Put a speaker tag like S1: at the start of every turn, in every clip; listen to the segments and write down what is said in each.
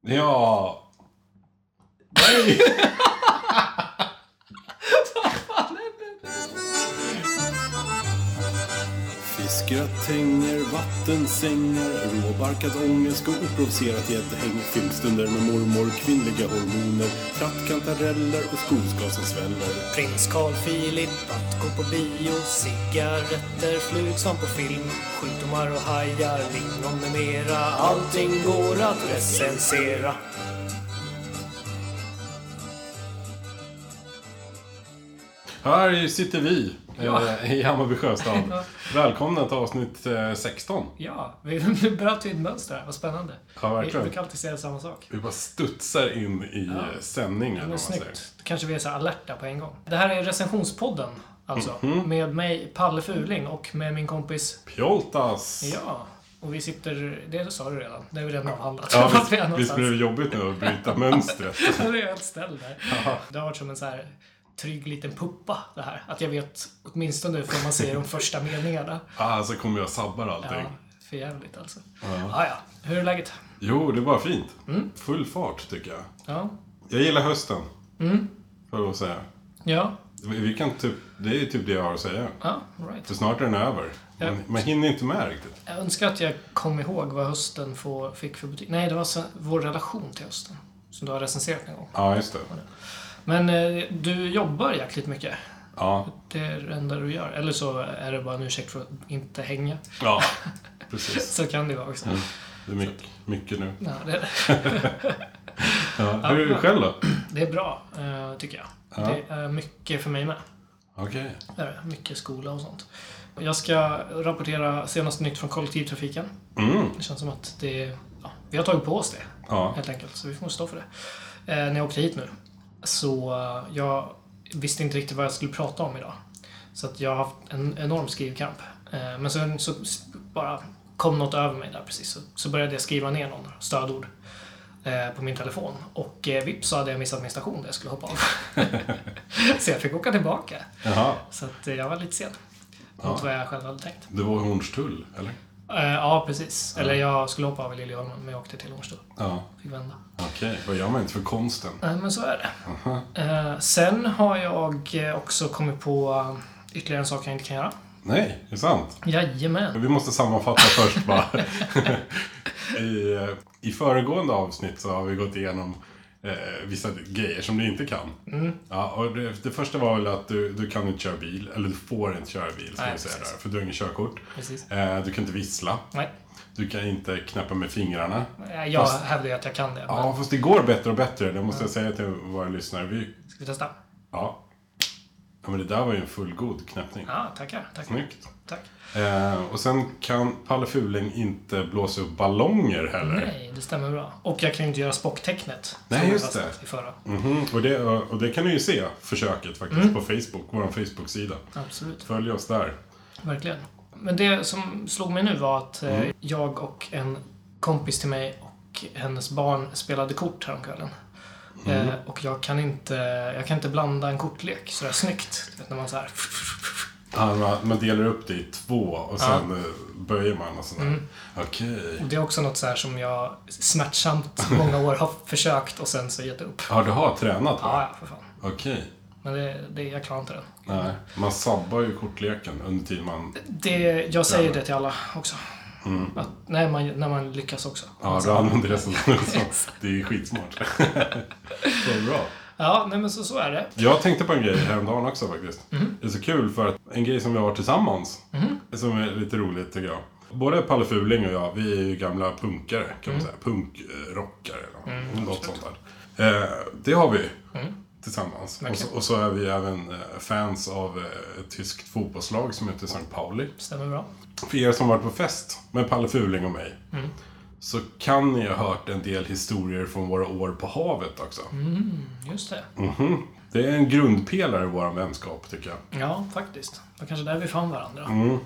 S1: Ja. Nej!
S2: Fiskgratänger, vattensängar, råbarkad ångest och oprovocerat gäddhäng. Filmstunder med mormor, kvinnliga hormoner, trattkantareller och skogsgas som sväller.
S3: Prins Carl Philip att gå på bio Cigaretter, flug som på film Sjukdomar och hajar, lingon med mera Allting går att recensera
S1: Här sitter vi
S3: Ja.
S1: eh, i Hammarby Sjöstad.
S3: Ja.
S1: Välkomna till avsnitt eh, 16.
S3: Ja, vi bröt ju ett mönster här, vad spännande.
S1: Ja,
S3: vi
S1: verkligen.
S3: brukar alltid säga samma sak.
S1: Vi bara studsar in i ja. sändning. eller
S3: Men
S1: vad man säger.
S3: snyggt. Då kanske vi är så här alerta på en gång. Det här är recensionspodden, alltså.
S1: Mhm.
S3: Med mig, Palle Fuling, och med min kompis...
S1: Pjoltas!
S3: Ja, och vi sitter... Det sa du redan. Det har vi redan avhandlat.
S1: Ja,
S3: Vart vi är
S1: visst, visst
S3: någonstans.
S1: blir det jobbigt nu att bryta mönstret?
S3: Nu är jag helt ställd där. Det har varit som en så här trygg liten puppa det här. Att jag vet åtminstone nu får man se de första meningarna.
S1: Ah, så kommer jag sabbar allting.
S3: Ja, för jävligt alltså. Ja, ja. Hur är läget?
S1: Jo, det är bara fint.
S3: Mm.
S1: Full fart, tycker jag.
S3: Ja.
S1: Jag gillar hösten.
S3: Mm.
S1: Får jag att säga.
S3: Ja.
S1: Vi kan typ, det är typ det jag har att säga.
S3: Ja, all right.
S1: För snart är den över.
S3: Ja.
S1: Man, man hinner inte med riktigt.
S3: Jag önskar att jag kom ihåg vad hösten får, fick för betyg. Nej, det var sen, vår relation till hösten. Som du har recenserat en gång.
S1: Ja, just det.
S3: Men eh, du jobbar jäkligt mycket.
S1: Ja,
S3: Det är det enda du gör. Eller så är det bara en ursäkt för att inte hänga.
S1: ja precis.
S3: Så kan det vara också.
S1: Det är mycket, mycket nu.
S3: Ja, det,
S1: Ja. Hur är det själv då?
S3: det är bra, eh, tycker jag. Det är mycket för mig med.
S1: Okej.
S3: Det är det. Mycket skola och sånt. Jag ska rapportera senaste nytt från kollektivtrafiken.
S1: Mm.
S3: Det känns som att det... Ja, vi har tagit på oss det.
S1: Ja.
S3: helt enkelt. Så vi får stå för det. Eh, när jag åkte hit nu så eh, jag visste inte riktigt vad jag skulle prata om idag. Så att jag har haft en enorm skrivkamp. Eh, men sen så s- bara kom något över mig där precis. Så, så började jag skriva ner någon stödord eh, på min telefon. Och eh, vips så hade jag missat min station där jag skulle hoppa av. så jag fick åka tillbaka.
S1: Jaha.
S3: Så att eh, jag var lite sen. Mot vad jag själv hade tänkt.
S1: Det var i Hornstull, eller?
S3: Eh, ja, precis. Eller jag skulle hoppa av i Liljeholmen, men jag åkte till Hornstull.
S1: Ja.
S3: Fick vända.
S1: Okej. Vad gör man inte för konsten?
S3: Nej, men så är det. Eh, sen har jag eh, också kommit på eh, ytterligare en sak jag inte kan göra.
S1: Nej, det är sant.
S3: Jajamän.
S1: Vi måste sammanfatta först bara. I, eh, I föregående avsnitt så har vi gått igenom eh, vissa grejer som du inte kan.
S3: Mm.
S1: Ja, och det, det första var väl att du, du kan inte köra bil, eller du får inte köra bil ska
S3: Nej,
S1: vi säga
S3: precis.
S1: där, för du har inget körkort.
S3: Precis.
S1: Eh, du kan inte vissla,
S3: Nej,
S1: du kan inte knäppa med fingrarna.
S3: eh, jag hävdar ju att jag kan det. Men
S1: Ja, fast det går bättre och bättre, det
S3: Mm.
S1: måste jag säga till våra lyssnare. Vi,
S3: ska vi testa?
S1: ja. ja, men det där var ju en fullgod knäppning.
S3: Ja, tackar. tackar.
S1: Snyggt.
S3: Tack.
S1: Eh, och sen kan Palle Fuling inte blåsa upp ballonger heller.
S3: Nej, det stämmer bra. Och jag kan ju inte göra spocktecknet. som
S1: Nej,
S3: jag
S1: just
S3: fastnat
S1: det.
S3: I förra.
S1: Mhm, Och, det, och det kan ni ju se, försöket faktiskt,
S3: Mm.
S1: på Facebook, vår Facebook-sida.
S3: Absolut,
S1: Följ oss där.
S3: verkligen. Men det som slog mig nu var att eh, jag och en kompis till mig och hennes barn spelade kort häromkvällen. Eh, och jag kan, inte, jag kan inte blanda en kortlek sådär snyggt. Du vet, när man så här...
S1: Ja, Man, man delar upp det i två och sen eh, böjer man och sådär.
S3: Mm.
S1: Okej.
S3: Och det är också något så här som jag smärtsamt många år har försökt och sen så gett upp.
S1: Ja, du har tränat va?
S3: Ja, ja, för fan.
S1: Okej.
S3: Men det, det, jag klarar inte den.
S1: Nej, man sabbar ju kortleken under tiden man...
S3: Det, jag säger det till alla också. Att när, man, när man lyckas också.
S1: Ja, du använder det som... som- det är ju skitsmart. Så bra.
S3: Ja, nej men så, så är det.
S1: Jag tänkte på en grej häromdagen också faktiskt. Det är så kul för att en grej som vi har tillsammans, som är lite roligt tycker jag. Både Palle Fuling och jag, vi är ju gamla punkare kan man säga. Punkrockare eller något sånt där. Eh, det har vi tillsammans. Och, så, och så är vi även eh, fans av eh, ett tyskt fotbollslag som heter St. Pauli.
S3: Stämmer bra.
S1: För er som varit på fest med Palle Fuling och mig så kan ni ha hört en del historier från våra år på havet också.
S3: Just det.
S1: Det är en grundpelare i vår vänskap tycker jag.
S3: Ja, faktiskt. Det var kanske där vi fann varandra.
S1: Mm.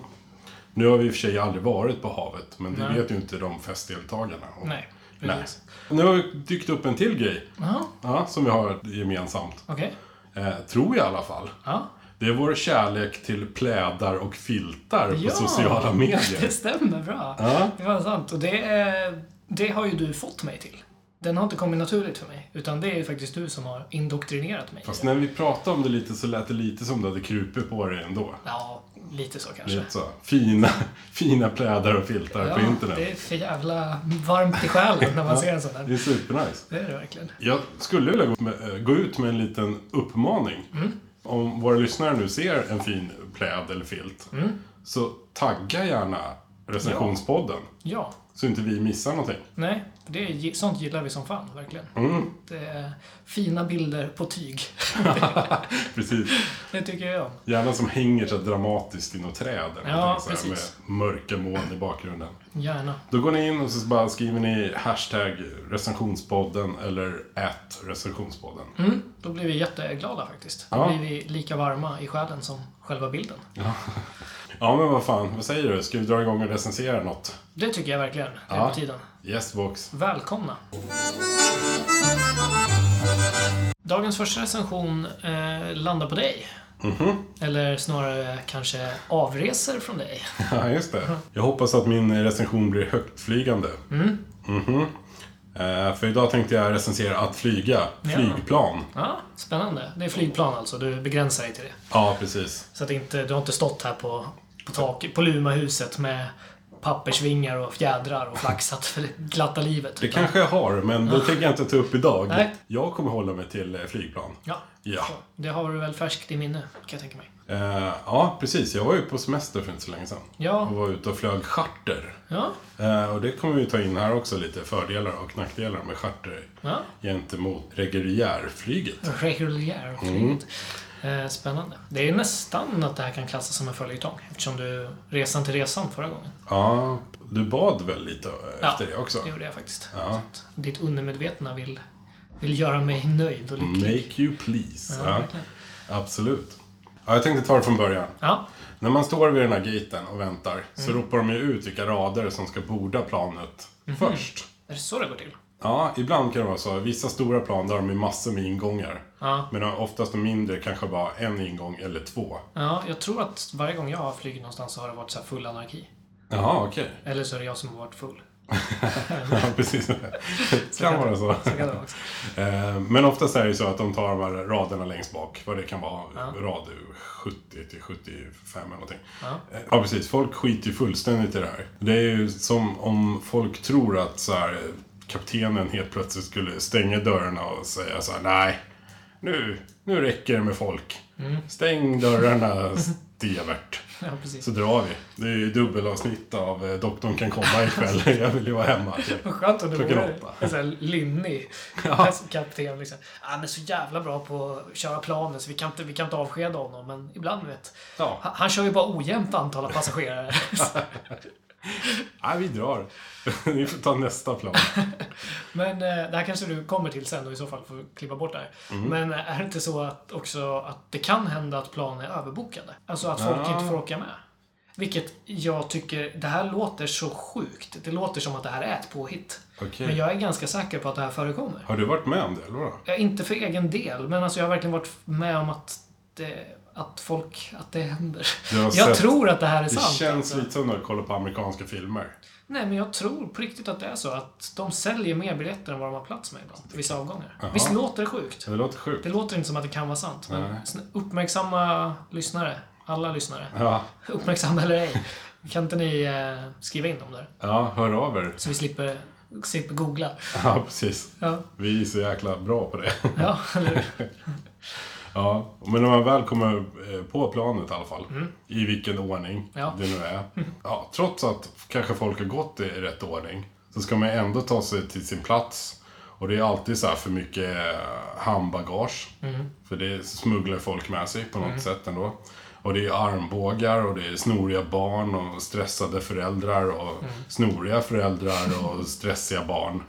S1: Nu har vi i och för sig aldrig varit på havet, men det
S3: Nej.
S1: vet ju inte de festdeltagarna. Och-
S3: Nej.
S1: Nej.
S3: precis.
S1: Nu har det dykt upp en till grej,
S3: Jaha,
S1: ja, som vi har gemensamt.
S3: okej.
S1: Eh, tror jag i alla fall.
S3: Ja,
S1: Det är vår kärlek till plädar och filtar
S3: Ja.
S1: på sociala medier.
S3: det stämmer bra.
S1: Ja.
S3: eh, Det var sant. Och det, är- det har ju du fått mig till. den har inte kommit naturligt för mig. Utan det är ju faktiskt du som har indoktrinerat mig.
S1: Fast när vi pratade om det lite så lät det lite som du hade krupit på dig ändå.
S3: Ja, lite så kanske.
S1: Lite så. Fina, fina plädar och filtar på internet.
S3: det är för jävla varmt i själen när man ser en sån
S1: Det
S3: där.
S1: är supernice.
S3: Det är det verkligen.
S1: Jag skulle vilja gå, med, eh, gå ut med en liten uppmaning.
S3: Mm.
S1: Om våra lyssnare nu ser en fin pläd eller filt,
S3: Mm.
S1: så tagga gärna recensionspodden.
S3: Ja.
S1: Så inte vi missar någonting.
S3: Nej, det är, sånt gillar vi som fan, verkligen.
S1: Mm.
S3: Det är fina bilder på tyg.
S1: Precis.
S3: Det tycker jag om.
S1: Gärna som hänger så här dramatiskt i något träd. Eller
S3: Ja,
S1: någonting så här,
S3: precis.
S1: med mörka moln i bakgrunden.
S3: Gärna.
S1: Då går ni in och så bara skriver ni hashtag recensionspodden eller ät recensionspodden.
S3: Mm, då blir vi jätteglada faktiskt. Då
S1: Ja.
S3: blir vi lika varma i själen som själva bilden.
S1: Ja, men vad fan. Vad säger du? Ska vi dra igång och recensera något?
S3: Det tycker jag verkligen är
S1: Ja.
S3: på tiden.
S1: Yes, box.
S3: Välkomna! Dagens första recension eh, landar på dig.
S1: Mhm.
S3: Eller snarare kanske avresor från dig.
S1: Ja, just det. Jag hoppas att min recension blir högtflygande. Mm. Eh, för idag tänkte jag recensera att flyga. Flygplan.
S3: Ja, spännande. Det är flygplan alltså, du begränsar dig till det.
S1: Ja, precis.
S3: Så att inte, du har inte stått här på, på, tak, på Lumahuset med pappersvingar och fjädrar och flaxat för det glatta livet.
S1: Det kanske jag har, men det tänker jag inte ta upp idag.
S3: Nej.
S1: Jag kommer hålla mig till eh, flygplan.
S3: Ja,
S1: Ja.
S3: så. det har du väl färskt i minne, kan jag tänka mig.
S1: Eh, ja, precis. Jag var ju på semester för inte så länge sedan.
S3: Ja.
S1: Och var ute och flög charter.
S3: Ja,
S1: Eh, och det kommer vi ta in här också, lite fördelar och nackdelar med charter
S3: ja.
S1: gentemot reguljärflyget. Mm.
S3: Reguljärflyget. Eh, spännande. Det är nästan att det här kan klassas som en följetong eftersom du resan till resan förra gången.
S1: Ja, du bad väl lite eh, efter det också?
S3: Det gjorde jag faktiskt.
S1: Ja.
S3: Så att Ditt undermedvetna vill, vill göra mig nöjd och lycklig.
S1: Make you please.
S3: Ja,
S1: Ja,
S3: verkligen.
S1: absolut. Ja, jag tänkte ta det från början.
S3: Ja,
S1: När man står vid den här gaten och väntar så ropar de ju ut vilka rader som ska borda planet först.
S3: är det så det går till?
S1: Ja, ibland kan det vara så. Vissa stora plan där har de ju massor med ingångar.
S3: Ja.
S1: Medan oftast de mindre kanske bara en ingång eller två.
S3: Ja, jag tror att varje gång jag har flugit någonstans så har det varit så här full anarki.
S1: Jaha, okej.
S3: Eller så är det jag som har varit full.
S1: Ja, precis. Det kan vara så.
S3: Så kan det vara också.
S1: Eh, Men oftast är det ju så att de tar de här raderna längst bak, vad det kan vara, rad 70 till 75 eller någonting.
S3: Ja.
S1: Eh, ja, precis. Folk skiter ju fullständigt i det här. Det är ju som om folk tror att så här, kaptenen helt plötsligt skulle stänga dörrarna och säga så här, nej, nu, nu räcker det med folk. Stäng dörrarna, Stevert.
S3: Ja, precis.
S1: Så drar vi. Det är ju dubbelavsnitt av eh, Doktorn kan komma ikväll. Jag vill ju vara hemma. typ.
S3: Vad skönt om du
S1: Klockan
S3: vore
S1: åtta.
S3: en sån här lynnig ja. kapten. Liksom. Han är så jävla bra på att köra planen så vi kan inte, vi kan inte avskeda honom. Men ibland vet.
S1: Ja.
S3: Han, han kör ju bara ojämnt antal av passagerare.
S1: Nej, vi drar. Ni får ta nästa plan.
S3: men eh, det här kanske du kommer till sen och i så fall får vi klippa bort det här.
S1: Mm.
S3: Men eh, är det inte så att också att det kan hända att plan är överbokade? Alltså att folk
S1: Ja.
S3: inte får åka med. Vilket jag tycker, det här låter så sjukt. Det låter som att det här är ett påhitt.
S1: Okej.
S3: Men jag är ganska säker på att det här förekommer.
S1: Har du varit med om det, eller vadå?
S3: Ja, Eh, inte för egen del, men alltså jag har verkligen varit med om att det, att folk, att det händer.
S1: Du har
S3: Jag
S1: sett-
S3: tror att det här är
S1: Det
S3: sant.
S1: känns
S3: alltså.
S1: lite som när du kollar på amerikanska filmer.
S3: Nej, men jag tror på riktigt att det är så att de säljer mer biljetter än vad de har plats med ibland. Vissa avgångar.
S1: Jaha.
S3: Visst låter det sjukt?
S1: Det låter sjukt.
S3: Det låter inte som att det kan vara sant, men
S1: Nej.
S3: sn- uppmärksamma lyssnare, alla lyssnare,
S1: Ja,
S3: uppmärksamma eller ej, kan inte ni eh, skriva in dem där?
S1: ja, hör av er.
S3: Så vi slipper, slipper googla.
S1: Ja, precis.
S3: Ja,
S1: Vi är så jäkla bra på det.
S3: ja eller hur?
S1: Ja, men när man väl kommer eh, på planet i alla fall, i vilken ordning
S3: Mm. Ja.
S1: det nu är. Ja, trots att kanske folk har gått i rätt ordning, så ska man ändå ta sig till sin plats. Och det är alltid så här för mycket eh, handbagage. För det smugglar folk med sig på något sätt ändå. Och det är armbågar och det är snoriga barn och stressade föräldrar och snoriga föräldrar och stressiga barn.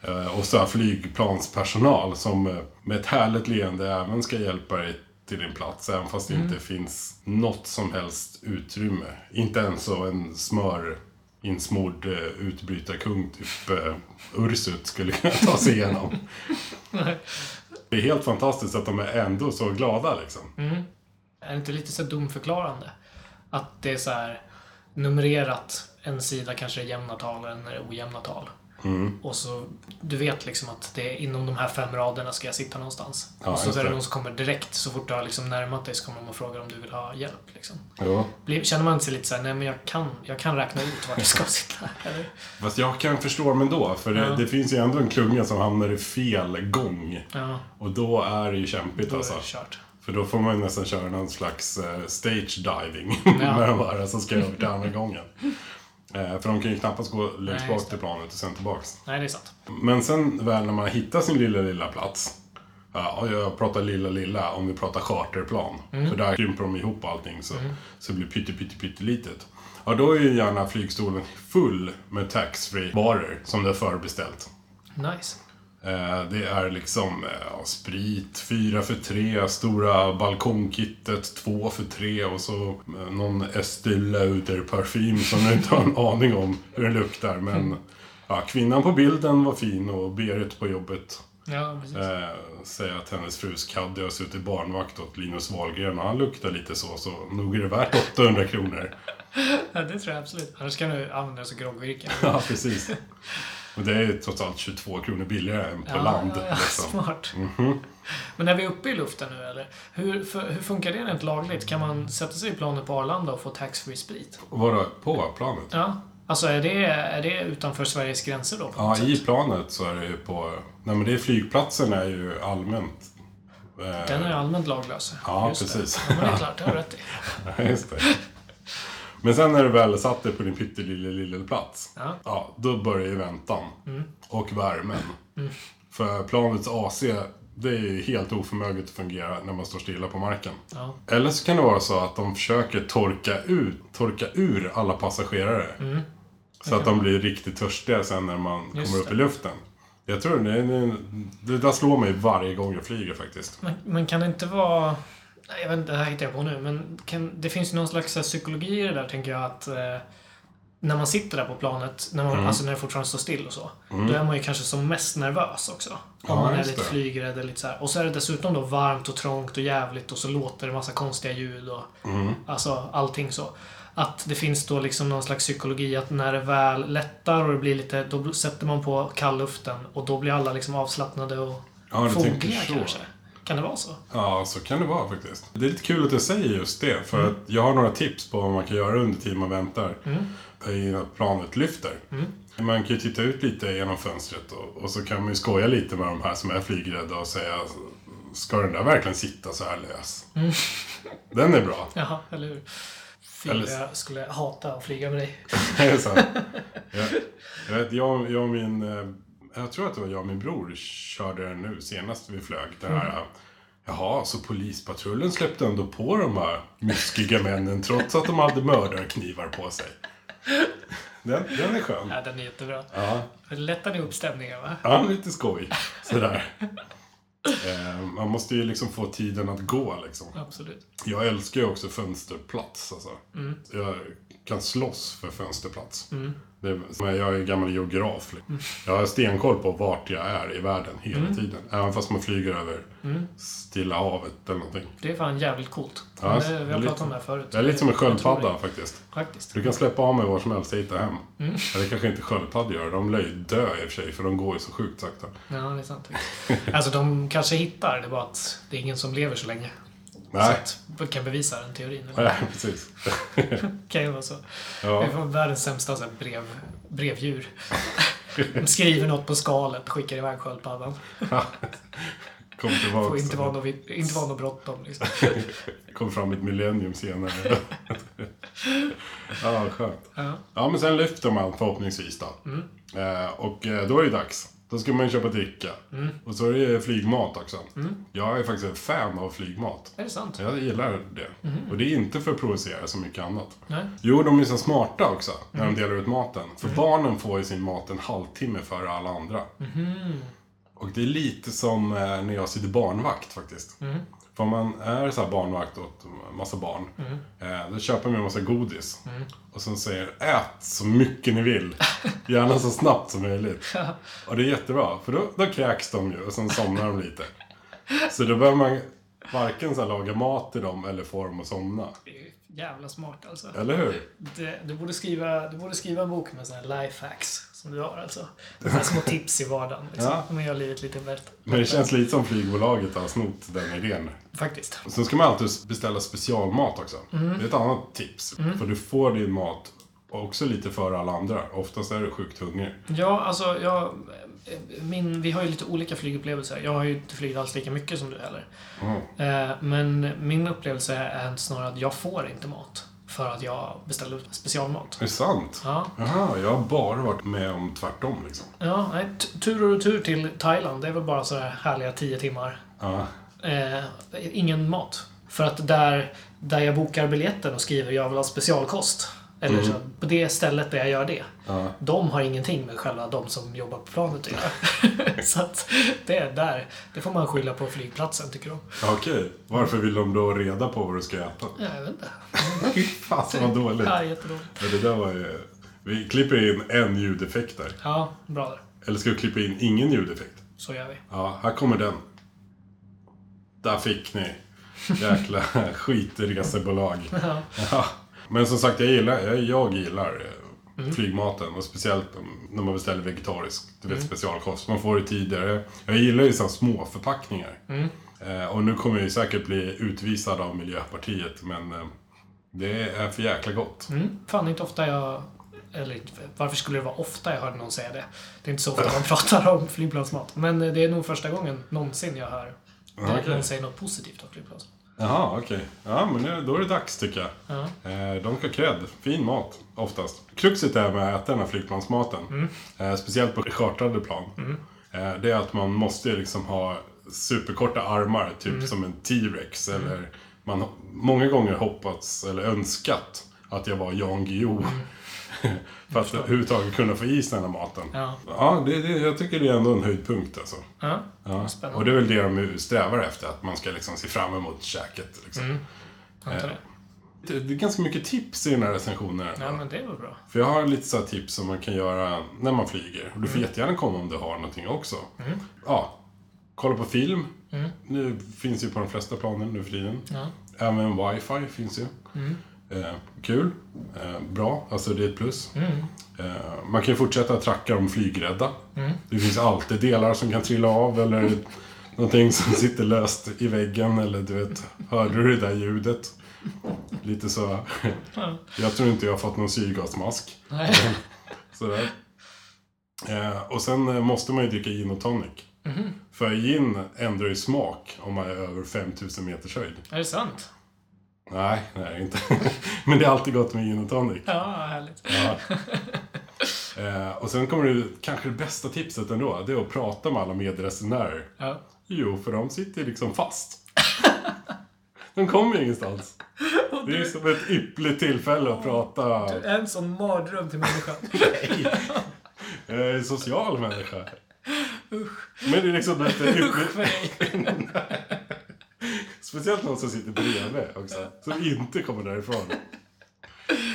S1: Eh, Och så här flygplanspersonal som eh, med ett härligt leende även ska hjälpa dig till din plats även fast
S3: Mm.
S1: det inte finns något som helst utrymme. Inte ens så en smör insmord eh, utbrytarkung typ eh, Ursut skulle kunna ta sig igenom. Det är helt fantastiskt att de är ändå så glada liksom.
S3: Mm. Är det inte lite så domförklarande? Att det är så här numrerat. En sida kanske är jämna tal och en är ojämna tal. Och så, du vet liksom att det är inom de här fem raderna ska jag sitta någonstans.
S1: Ja,
S3: och så
S1: just
S3: är det
S1: det.
S3: någon som kommer direkt, så fort du har liksom närmat dig så kommer de och frågar om du vill ha hjälp. Liksom.
S1: Ja.
S3: Blir- Känner man inte sig lite såhär, nej men jag kan, jag kan räkna ut vart jag ska sitta? Eller?
S1: Fast jag kan förstå dem ändå, för det,
S3: Ja.
S1: det finns ju ändå en klunga som hamnar i fel gång.
S3: Ja,
S1: Och då är det ju kämpigt
S3: då
S1: alltså.
S3: är det kört.
S1: För då får man ju nästan köra någon slags eh, stage diving. med de här som ska över till andra gången. Eh, för de kan ju knappast gå längst
S3: Nej,
S1: bak
S3: just
S1: till planet och sen tillbaks.
S3: Nej, det är sant.
S1: Men sen väl när man hittar sin lilla, lilla plats. Ja, och jag pratar lilla, lilla om vi pratar charterplan.
S3: Mm.
S1: För där krymper de ihop allting så, så det blir pytte, pytte, pyttelitet. Ja, då är ju gärna flygstolen full med taxfree-varor som du har förbeställt.
S3: Nice.
S1: Eh, Det är liksom eh, ja, sprit, fyra för tre, stora balkongkittet, två för tre och så eh, någon Estée Lauder-parfym som jag inte har en aning om hur den luktar. Men ja, kvinnan på bilden var fin och Berit på jobbet
S3: Ja, precis.
S1: eh, säger att hennes frus Kadde har suttit barnvakt åt Linus Wahlgren och han luktar lite så, så nog är det värt 800 kronor.
S3: Ja, det tror jag absolut. Annars kan du använda det som groggvirke.
S1: Ja, precis. Och det är ju trots allt 22 kronor billigare än på land.
S3: Ja, ja,
S1: Liksom.
S3: smart. Men när vi är uppe i luften nu eller? Hur, för, hur funkar det rent lagligt? Kan man sätta sig i planet på Arlanda och få taxfree sprit?
S1: Vadå, på planet?
S3: Ja. Alltså är det, är det utanför Sveriges gränser då?
S1: Ja, i planet så är det ju på... Nej men det är flygplatsen är ju allmänt. Eh,
S3: Den är allmänt laglös.
S1: Ja,
S3: Just det.
S1: precis.
S3: Ja, men det är klart. Det har du rätt i.
S1: Just det. Men sen när du väl satt dig på din pyttelilla lilla plats.
S3: Ja. Mm.
S1: då börjar ju väntan. Och värmen. För planets AC, det är ju helt oförmöget att fungera när man står stilla på marken.
S3: Ja.
S1: Eller så kan det vara så att de försöker torka, ut, torka ur alla passagerare.
S3: Mm.
S1: Så att de blir riktigt törstiga sen när man
S3: Just
S1: kommer upp
S3: det.
S1: i luften. Jag tror det, det, det där slår mig varje gång jag flyger faktiskt.
S3: Men, men kan det inte vara... Nej, jag vet inte, det här hittar jag på nu. Men kan, det finns ju någon slags så här, psykologi i det där, tänker jag. att eh, När man sitter där på planet, när
S1: Mm.
S3: man, alltså när det fortfarande står still och så. Då är man ju kanske som mest nervös också. Om
S1: Ja,
S3: man är
S1: just
S3: lite
S1: det.
S3: flygrädd eller lite så här. Och så är det dessutom då varmt och trångt och jävligt och så låter det massa konstiga ljud och
S1: Mm.
S3: alltså allting så. Att det finns då liksom någon slags psykologi att när det väl lättar och det blir lite, då sätter man på kallluften och då blir alla liksom avslappnade och
S1: Ja, du tänker
S3: fogliga
S1: så.
S3: kanske. Kan det vara så?
S1: Ja, så kan det vara faktiskt. Det är lite kul att du säger just det. För att jag har några tips på vad man kan göra under tiden man väntar. Innan planet lyfter. Man kan ju titta ut lite genom fönstret och, och så kan man ju skoja lite med de här som är flygrädda och säga Ska den där verkligen sitta så här lös? Den är bra.
S3: Jaha, eller hur? Fy,
S1: Eller-
S3: jag skulle hata att flyga med dig.
S1: Det är sant. Jag, jag, vet, jag, jag och min... eh, Jag tror att det var jag och min bror körde den nu senast vi flög. Det här... eh, Jaha, så polispatrullen släppte ändå på de här myskiga männen trots att de hade mördarknivar på sig. Den, den är skön.
S3: Ja, den är jättebra.
S1: Ja,
S3: Lättar ni upp stämningen, va?
S1: ja lite skoj. Sådär. Eh, Man måste ju liksom få tiden att gå liksom.
S3: Absolut.
S1: Jag älskar ju också fönsterplats. Alltså.
S3: Mm.
S1: Jag kan slåss för fönsterplats. Det, men jag är ju gammal geograf. Liksom.
S3: Mm.
S1: Jag har stenkoll på vart jag är i världen hela tiden. Även fast man flyger över
S3: Mm.
S1: Stilla havet eller någonting.
S3: Det är fan jävligt coolt.
S1: Ja,
S3: Men
S1: det
S3: det,
S1: är
S3: vi har
S1: lite-
S3: pratat om det här förut.
S1: Jag är lite som en sköldpadda
S3: otroligt,
S1: faktiskt.
S3: Faktiskt.
S1: Du kan släppa av mig var som helst och hitta hem.
S3: Mm.
S1: Eller kanske inte sköldpaddor gör. De lär ju dö i och för sig för de går ju så sjukt sakta.
S3: Ja, det är sant. Alltså, de kanske hittar. Det är bara att det är ingen som lever så länge.
S1: Nej,
S3: Så att vi kan bevisa den teorin. Det
S1: Nej precis.
S3: kan ju vara så.
S1: Ja.
S3: Vi får världens sämsta så här, brev, brevdjur. De skriver något på skalet, skickar iväg sköldpaddan.
S1: Kom tillbaka.
S3: Får inte vara något, vi- inte vara något bråttom liksom.
S1: Kom fram ett millennium senare. ja, skönt.
S3: Ja.
S1: Ja, men sen lyfter man förhoppningsvis då. Eh, och eh, då är det dags. Då ska man ju köpa dricka. Och så är det ju flygmat också. Jag är faktiskt ett fan av flygmat.
S3: Är det sant?
S1: Jag gillar det. Och det är inte för att provocera så mycket annat.
S3: Nej.
S1: Jo, de är så smarta också när de delar ut maten. För barnen får ju sin mat en halvtimme före alla andra. Och det är lite som eh, när jag sitter barnvakt faktiskt. För om man är så här barnvakt åt massa barn, eh, då köper man en massa godis. Och sen säger ät så mycket ni vill. Gärna så snabbt som möjligt. Och det är jättebra, för då, då kräks de ju och sen somnar de lite. Så då behöver man varken så här laga mat till dem eller få dem att somna.
S3: Det är ju jävla smart alltså.
S1: Eller hur?
S3: Det, du, borde skriva, du borde skriva en bok med sådana här lifehacks. som du har alltså. Det är så här små tips i vardagen. Liksom.
S1: Ja.
S3: Man gör livet lite bättre.
S1: Men det känns lite som flygbolaget har snott den idén.
S3: Faktiskt.
S1: Sen ska man alltid beställa specialmat också.
S3: Mm.
S1: Det är ett annat tips. För du får din mat också lite före alla andra. Oftast är du sjukt hungrig.
S3: Ja, alltså jag... Min, vi har ju lite olika flygupplevelser. Jag har ju inte flugit alls lika mycket som du heller.
S1: Mm.
S3: Eh, Men min upplevelse är snarare att jag får inte mat. För att jag beställer ut specialmat.
S1: Det är sant.
S3: Ja,
S1: Jaha, jag har bara varit med om tvärtom liksom.
S3: ja nej, t- tur och retur till Thailand. Det är väl bara sådär härliga tio timmar.
S1: Ja.
S3: Eh, ingen mat. För att där, där jag bokar biljetten och skriver jag vill ha specialkost. Eller så, på det stället där jag gör det.
S1: Mm. Ja.
S3: De har ingenting med själva de som jobbar på planet att göra. så att det är där. Det får man skylla på flygplatsen tycker de.
S1: Ja, Okej, varför vill de då reda på vad du ska äta?
S3: Jag vet inte.
S1: Fy Fasen vad dåligt.
S3: Ja, jättedåligt.
S1: Men det där var ju... Vi klipper in en ljudeffekt där.
S3: Ja, bra där.
S1: Eller ska vi klippa in ingen ljudeffekt?
S3: Så gör vi.
S1: Ja, här kommer den. Där fick ni. Jäkla skitresebolag.
S3: Ja.
S1: Ja. Men som sagt, jag gillar, jag, jag gillar eh, flygmaten. Och speciellt om- när man beställer vegetariskt. Du vet, specialkost. Man får det tidigare. Jag gillar ju så här små förpackningar. Eh, och nu kommer jag ju säkert bli utvisad av Miljöpartiet, men eh, det är för jäkla gott.
S3: Mm. Fan, det är inte ofta jag... Eller varför skulle det vara ofta jag hörde någon säga det? Det är inte så ofta man pratar om flygplansmat. Men eh, det är nog första gången någonsin jag hör
S1: Ja,
S3: okay.
S1: okej.
S3: någon säga något positivt om flygplansmat.
S1: Jaha, okej. Ja, men nu- då är det dags tycker jag.
S3: Ja.
S1: Eh, de ska ha cred. Fin mat, oftast. Kruxet är med att äta den här flygplansmaten, eh, speciellt på chartrade plan, eh, det är att man måste liksom ha superkorta armar, typ som en T-Rex. Eller man har många gånger hoppats, eller önskat, att jag var Jan Guillou. För att överhuvudtaget kunna få i sig den här maten.
S3: Ja.
S1: Ja, det, det, jag tycker det är ändå en höjdpunkt alltså.
S3: Ja.
S1: Ja.
S3: Spännande.
S1: Och det är väl det de strävar efter, att man ska liksom se fram emot käket. Liksom.
S3: Mm. Antar det.
S1: Det det är ganska mycket tips i den här recensionen.
S3: Ja, men det var bra.
S1: För jag har lite så här tips som man kan göra när man flyger. Och du får
S3: Mm.
S1: jättegärna komma om du har någonting också. Ja, kolla på film.
S3: Mm.
S1: Nu finns ju på de flesta planen nu för tiden.
S3: Ja.
S1: Även wifi finns ju. Eh, kul. Eh, bra. Alltså det är ett plus. Eh, man kan ju fortsätta tracka de flygrädda. Det finns alltid delar som kan trilla av eller någonting som sitter löst i väggen. Eller du vet, hörde du det där ljudet? Lite så.
S3: Ja.
S1: Jag tror inte jag har fått någon syrgasmask.
S3: Nej.
S1: Sådär. Eh, och sen eh, måste man ju dricka gin och tonic. För gin ändrar ju smak om man är över 5000 meters höjd.
S3: Är det sant?
S1: Nej, nej det är inte. Men det är alltid gott med gin och tonic.
S3: Ja, härligt.
S1: Ja. Eh, och sen kommer det kanske det bästa tipset ändå. Det är att prata med alla medresenärer.
S3: Ja.
S1: Jo, för de sitter ju liksom fast. De kommer ju ingenstans. Det är ju som ett ypperligt tillfälle att prata.
S3: En sån mardröm till människan.
S1: Jag är en social människa. Men det är liksom lite
S3: Usch för
S1: ypperligt.
S3: dig.
S1: Speciellt någon som sitter bredvid också. Som inte kommer därifrån.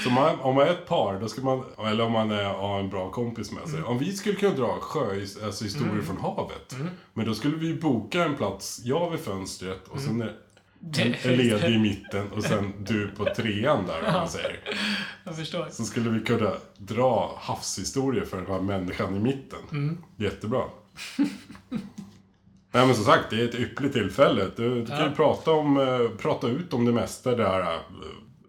S1: Så man, om man är ett par, då ska man, eller om man är, har en bra kompis med sig. Om vi skulle kunna dra sjö, alltså historier från havet. Men då skulle vi boka en plats, jag vid fönstret och sen är en
S3: Det-
S1: en ledig i mitten och sen du på trean där om man säger.
S3: Jag förstår.
S1: Så skulle vi kunna dra havshistorier för den här människan i mitten. Jättebra. Nej men som sagt, det är ett ypperligt tillfälle. Du, du kan ju prata, om, eh, prata ut om det mesta. Det här, eh,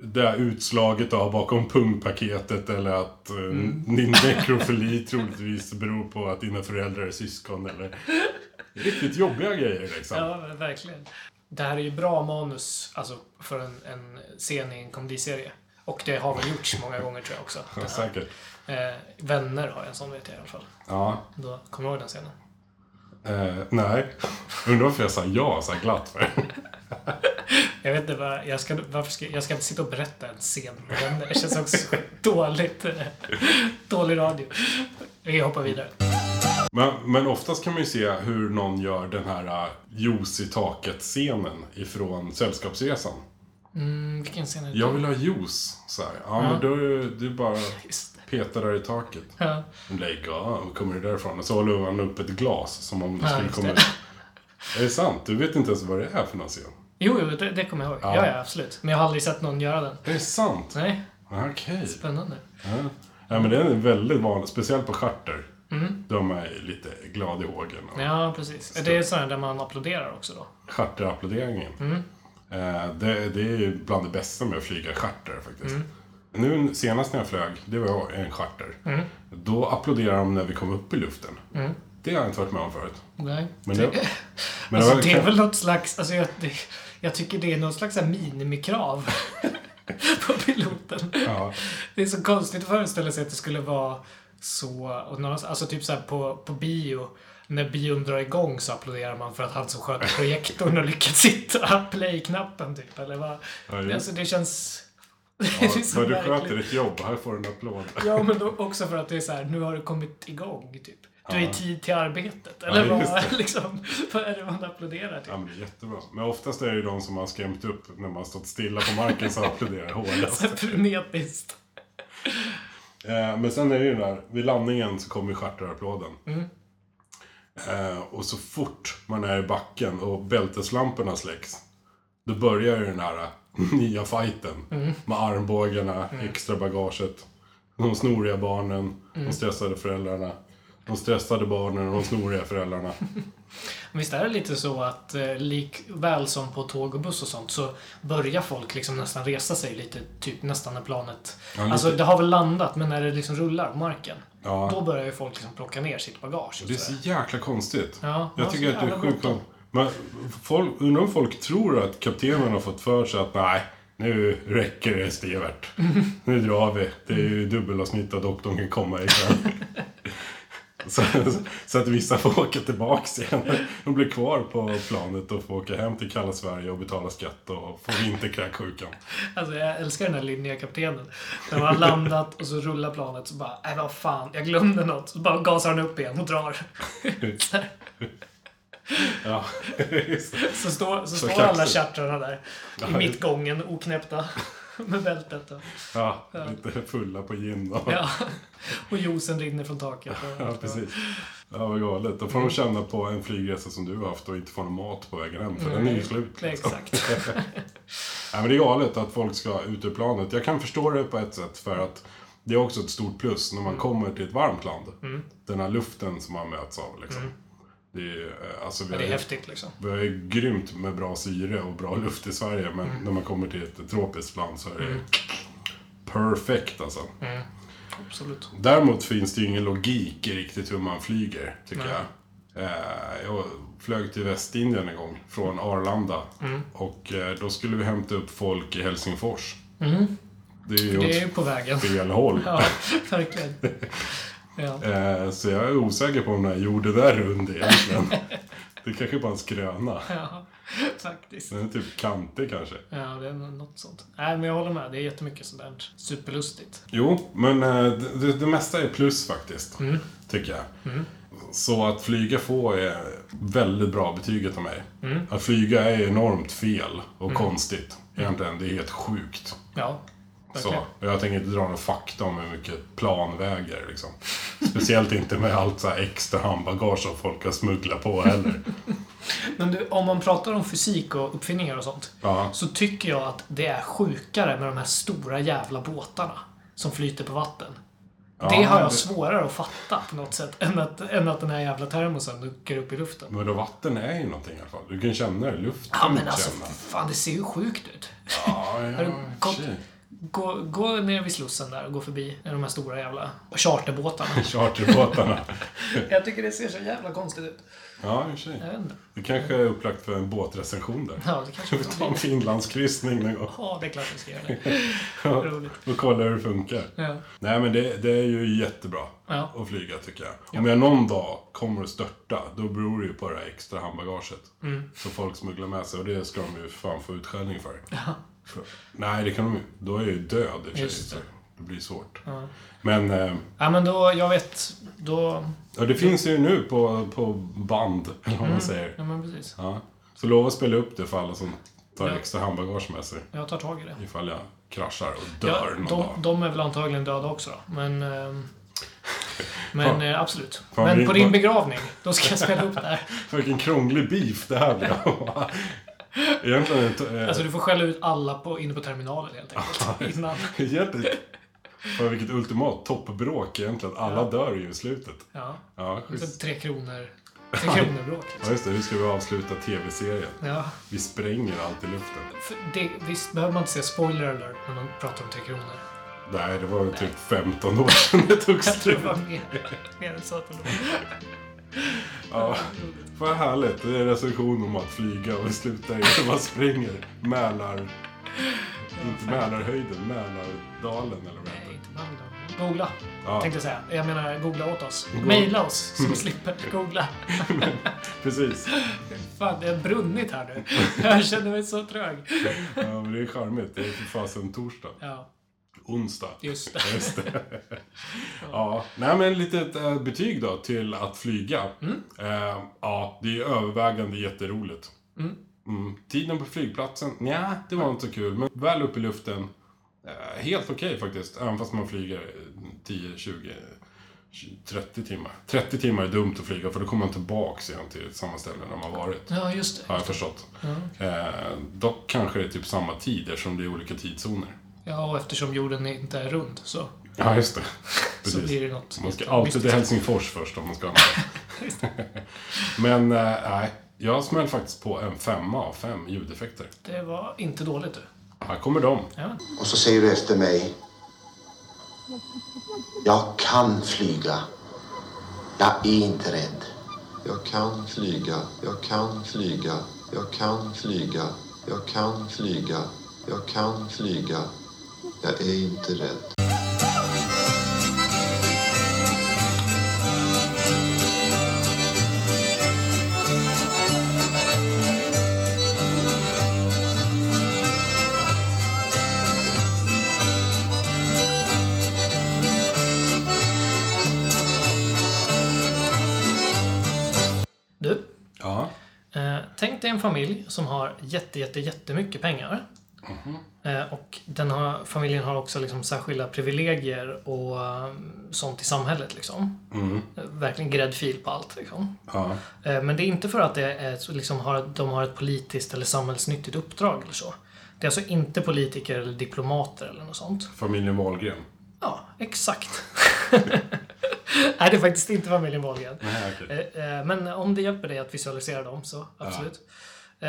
S1: det här utslaget av bakom pungpaketet eller att eh, din nekrofili troligtvis beror på att dina föräldrar är syskon eller... Riktigt jobbiga grejer liksom.
S3: Ja, men verkligen. Det här är ju bra manus alltså, för en, en scen i en komediserie. Och det har väl gjorts många gånger tror jag också.
S1: Ja, säkert.
S3: Eh, vänner har jag en sån vet jag i alla fall.
S1: Ja.
S3: Då, kommer du ihåg den scenen?
S1: Eh, nej. Undrar varför jag sa ja så här glatt för.
S3: Jag vet inte vad, jag ska, varför ska, jag ska inte sitta och berätta en scen med vänner. Det känns också så dåligt. eh, Dålig radio. Vi hoppar vidare.
S1: Men, men oftast kan man ju se hur någon gör den här uh, juice i taket-scenen ifrån Sällskapsresan.
S3: Mm, vilken scen är det?
S1: Jag vill ha juice, så här. Ja, men då är det- du bara
S3: Just det.
S1: petar där i taket.
S3: Ja,
S1: Lägg av, kommer du därifrån? Och så håller han upp ett glas som om det
S3: Ja,
S1: skulle
S3: just
S1: komma
S3: det.
S1: ut. Är det sant? Du vet inte ens vad det är för någon scen.
S3: jo, jo det, det kommer jag ihåg.
S1: Ja.
S3: Ja. ja, absolut. Men jag har aldrig sett någon göra den.
S1: Är det sant?
S3: Nej,
S1: Okej.
S3: spännande.
S1: Ja. Ja, men det är väldigt vanligt, speciellt på charter.
S3: Mm.
S1: De är lite glada i hågen. Och
S3: Ja, precis. Det är sådana där man applåderar också då.
S1: Charterapplåderingen.
S3: Mm.
S1: Eh, det, det är ju bland det bästa med att flyga charter faktiskt.
S3: Mm.
S1: Nu senast när jag flög, det var en charter.
S3: Mm.
S1: Då applåderade de när vi kom upp i luften. Det har jag inte varit med om förut.
S3: Nej.
S1: Men
S3: Mm. det,
S1: det- Men
S3: alltså,
S1: var-
S3: det är väl något slags... Alltså, jag, det, jag tycker det är något slags så här minimikrav på piloten.
S1: Ja,
S3: Det är så konstigt att föreställa sig att det skulle vara så... Och någon, alltså typ så här på, på bio. När bion drar igång så applåderar man för att han som sköt projektorn har lyckats hitta play-knappen typ. Eller vad?
S1: Ja, jo.
S3: Alltså det känns...
S1: Mm. ja,
S3: är så
S1: för du sköter
S3: märkligt.
S1: ditt jobb, här får du en applåd.
S3: Ja, men då också för att det är så här, nu har du kommit igång, typ. Du är i tid till arbetet.
S1: Ja,
S3: Eller
S1: just
S3: vad, liksom, vad är det man applåderar till?
S1: Ja, men det är jättebra. Men oftast är det ju de som har skrämt upp när man har stått stilla på marken som applåderar hårdast.
S3: Så här frenetiskt.
S1: Eh, men sen är det ju där, vid landningen så kommer ju charterapplåden. Eh, och så fort man är i backen och bälteslamporna släcks, då börjar ju den här eh, nya fighten. Med armbågarna, extra bagaget, de snoriga barnen, de stressade föräldrarna. De stressade barnen och de snoriga föräldrarna.
S3: Visst är det lite så att eh, likväl som på tåg och buss och sånt så börjar folk liksom nästan resa sig lite, typ nästan när planet...
S1: Ja, lite.
S3: Alltså det har väl landat, men när det liksom rullar på marken.
S1: Ja.
S3: Då börjar ju folk liksom plocka ner sitt bagage. och
S1: Det är
S3: sådär.
S1: så jäkla konstigt.
S3: Ja,
S1: jag
S3: ja,
S1: tycker
S3: så
S1: att det är
S3: jävla
S1: sjukt
S3: bråttom.
S1: Men folk, undrar om folk tror att kaptenen har fått för sig att nej, nu räcker det Stevert. Nu drar vi. Det är ju dubbelavsnitt och doktorn kan komma ikväll. så, så att vissa får åka tillbaks igen. De blir kvar på planet och får åka hem till kalla Sverige och betala skatt och få vinterkräksjukan.
S3: Alltså jag älskar den här Linnea-kaptenen. När man har landat och så rullar planet så bara, nej vad fan, jag glömde något. Så bara gasar han upp igen och drar.
S1: Ja, just det.
S3: Så står, så står
S1: kaxigt.
S3: alla chartrarna där i
S1: det-
S3: mittgången, oknäppta. Med bältet och,
S1: ja, lite fulla på gin och...
S3: ja. och juicen rinner från taket. Och,
S1: Ja, precis. Ja, vad galet. Då får
S3: Mm.
S1: de känna på en flygresa som du har haft och inte få någon mat på vägen hem, för den är ju slut.
S3: Nej,
S1: liksom.
S3: Exakt.
S1: Nej, men det är galet att folk ska ut ur planet. Jag kan förstå det på ett sätt, för att det är också ett stort plus när man
S3: Mm.
S1: kommer till ett varmt land. Den här luften som man möts av, liksom. Det är, eh, alltså, vi, har,
S3: Men Mm. det är
S1: ju-
S3: häftigt liksom.
S1: vi har ju grymt med bra syre och bra luft i Sverige, men
S3: Mm.
S1: när man kommer till ett tropiskt land så är det perfekt, alltså.
S3: Absolut.
S1: Däremot finns det ju ingen logik i riktigt hur man flyger, tycker jag. Eh, Jag flög till Västindien en gång, från Arlanda.
S3: Mm.
S1: Och eh, då skulle vi hämta upp folk i Helsingfors. Mm. Det är ju
S3: Det är ju
S1: åt
S3: på vägen.
S1: fel håll.
S3: Ja, verkligen. Ja.
S1: Eh, Så jag är osäker på om den här jorden är rund egentligen. Det kanske bara är en skröna.
S3: ja, faktiskt.
S1: Den är typ kantig kanske.
S3: Ja, det är något sånt. Nej, men jag håller med. Det är jättemycket sådär superlustigt.
S1: Jo, men eh, det, det, det mesta är plus faktiskt.
S3: Mm.
S1: Tycker jag. Så att flyga få är väldigt bra betyget av mig.
S3: Mm.
S1: Att flyga är enormt fel och konstigt.
S3: Mm.
S1: Egentligen, det är helt sjukt.
S3: Ja,
S1: Så,
S3: verkligen.
S1: och jag tänker inte dra någon fakta om hur mycket plan väger liksom. Speciellt inte med allt så här extra handbagage som folk har smugglat på heller.
S3: Men du, om man pratar om fysik och uppfinningar och sånt.
S1: Ja.
S3: Så tycker jag att det är sjukare med de här stora jävla båtarna. Som flyter på vatten. det har jag
S1: det-
S3: svårare att fatta på något sätt. Än att, än att den här jävla termosen duckar upp i luften.
S1: Men då vatten är ju någonting i alla fall. Du kan känna det, luft
S3: Ja
S1: kan du
S3: men
S1: inte
S3: alltså,
S1: känna.
S3: fan det ser ju sjukt ut.
S1: Ja, ja,
S3: du gått-
S1: tjej.
S3: Gå, gå ner vid Slussen där och gå förbi de här stora jävla charterbåtarna.
S1: Charterbåtarna.
S3: jag tycker det ser så jävla konstigt ut.
S1: Ja, i och för sig.
S3: Jag vet inte.
S1: Det kanske är upplagt för en båtrecension där.
S3: Ja, det kanske
S1: Vi
S3: inte
S1: tar
S3: blir.
S1: en finlandskryssning någon gång.
S3: Ja, det är klart vi ska göra det. Roligt.
S1: Och kollar hur det funkar.
S3: Ja.
S1: Nej men det, det är ju jättebra
S3: Ja.
S1: att flyga tycker jag. Om jag någon dag kommer att störta, då beror det ju på det här extra handbagaget.
S3: Mm.
S1: Som folk smugglar med sig och det ska de ju fan få utskällning för. För- Nej det kan de ju, då är jag ju död i och för sig.
S3: Just
S1: så
S3: det.
S1: Det blir svårt. Men eh,
S3: Ja, men då, jag vet. Då...
S1: ja, det finns ju nu på, på band, eller vad man
S3: Ja,
S1: säger.
S3: men precis.
S1: Ja. Så lova att spela upp det för alla som tar
S3: Ja.
S1: extra handbagage med sig.
S3: Jag tar tag i det.
S1: Ifall jag kraschar och
S3: Ja,
S1: dör någon dag.
S3: de, de är väl antagligen döda också då. Men, ehm, men eh, absolut.
S1: Fan,
S3: Men
S1: vi-
S3: på din begravning, då ska jag spela upp det här.
S1: Vilken krånglig beef det här blev. Egentligen, ett, eh,
S3: Alltså du får skälla ut alla på, inne på terminalen helt enkelt. Innan.
S1: egentligen För vilket ultimat toppbråk egentligen. Alla dör ju i slutet.
S3: Ja.
S1: Ja,
S3: Så
S1: schysst.
S3: tre kronor. Tre liksom. kronor bråk.
S1: Ja, just det. Hur ska vi avsluta tv-serien?
S3: Ja.
S1: Vi spränger allt i luften.
S3: För det, visst behöver man inte säga spoiler alert när man pratar om Tre Kronor?
S1: Nej, det var ju typ 15 år sedan det tog
S3: Jag tror
S1: slut.
S3: det var mer, mer än så att det var.
S1: Ja, vad härligt. Det är en recension om att flyga och sluta inte bara springer. Mälar... Inte Mälarhöjden, Mälardalen eller vad det
S3: Nej,
S1: heter.
S3: inte Malmö. Googla,
S1: Ja,
S3: tänkte jag säga. Jag menar, googla åt oss.
S1: Googla. Mm.
S3: Maila oss, så vi slipper googla.
S1: precis.
S3: Fan, det har brunnit här nu. Jag känner mig så trög.
S1: Ja, men det är charmigt. Det är för fasen torsdag.
S3: Ja,
S1: Onsdag.
S3: just det.
S1: Ja, Just det. ja. Nej, men litet eh, betyg då till att flyga. Eh, ja, det är övervägande jätteroligt. Mm. Tiden på flygplatsen? Nja, det var inte så kul. Men väl upp i luften. Eh, helt okej faktiskt. Även fast man flyger eh, 10, 20, 30 timmar. 30 timmar är dumt att flyga för då kommer man tillbaks igen till samma ställe där man varit.
S3: Ja, just
S1: Har
S3: det.
S1: jag förstått. Eh, dock kanske det är typ samma tid eftersom det är olika tidszoner.
S3: Ja, och eftersom jorden inte är rund så,
S1: Ja, just det.
S3: så
S1: Precis.
S3: blir det något.
S1: Man ska alltid
S3: mystiskt.
S1: till Helsingfors först om man ska ha något. Men eh, nej, jag smäll faktiskt på en femma av fem ljudeffekter.
S3: Det var inte dåligt du.
S1: Här kommer de.
S3: Ja.
S4: Och så säger du efter mig. Jag kan flyga. Jag är inte rädd.
S5: Jag kan flyga, jag kan flyga, jag kan flyga, jag kan flyga, jag kan flyga. Jag är inte rädd.
S3: Du,
S1: Ja.
S3: eh, tänk dig en familj som har jätte, jätte, jättemycket pengar. Eh, och den har, familjen har också liksom särskilda privilegier och eh, sånt i samhället. Liksom. Eh, Verkligen gräddfil på allt. Liksom.
S1: ja.
S3: Eh, Men det är inte för att det är, så liksom, har, de har ett politiskt eller samhällsnyttigt uppdrag eller så. Det är alltså inte politiker eller diplomater eller något sånt.
S1: Familjen Wahlgren.
S3: Ja, exakt. Nej, det är faktiskt inte familjen Wahlgren.
S1: Nej, okej.
S3: Eh, eh, Men om det hjälper dig att visualisera dem så absolut. Eh,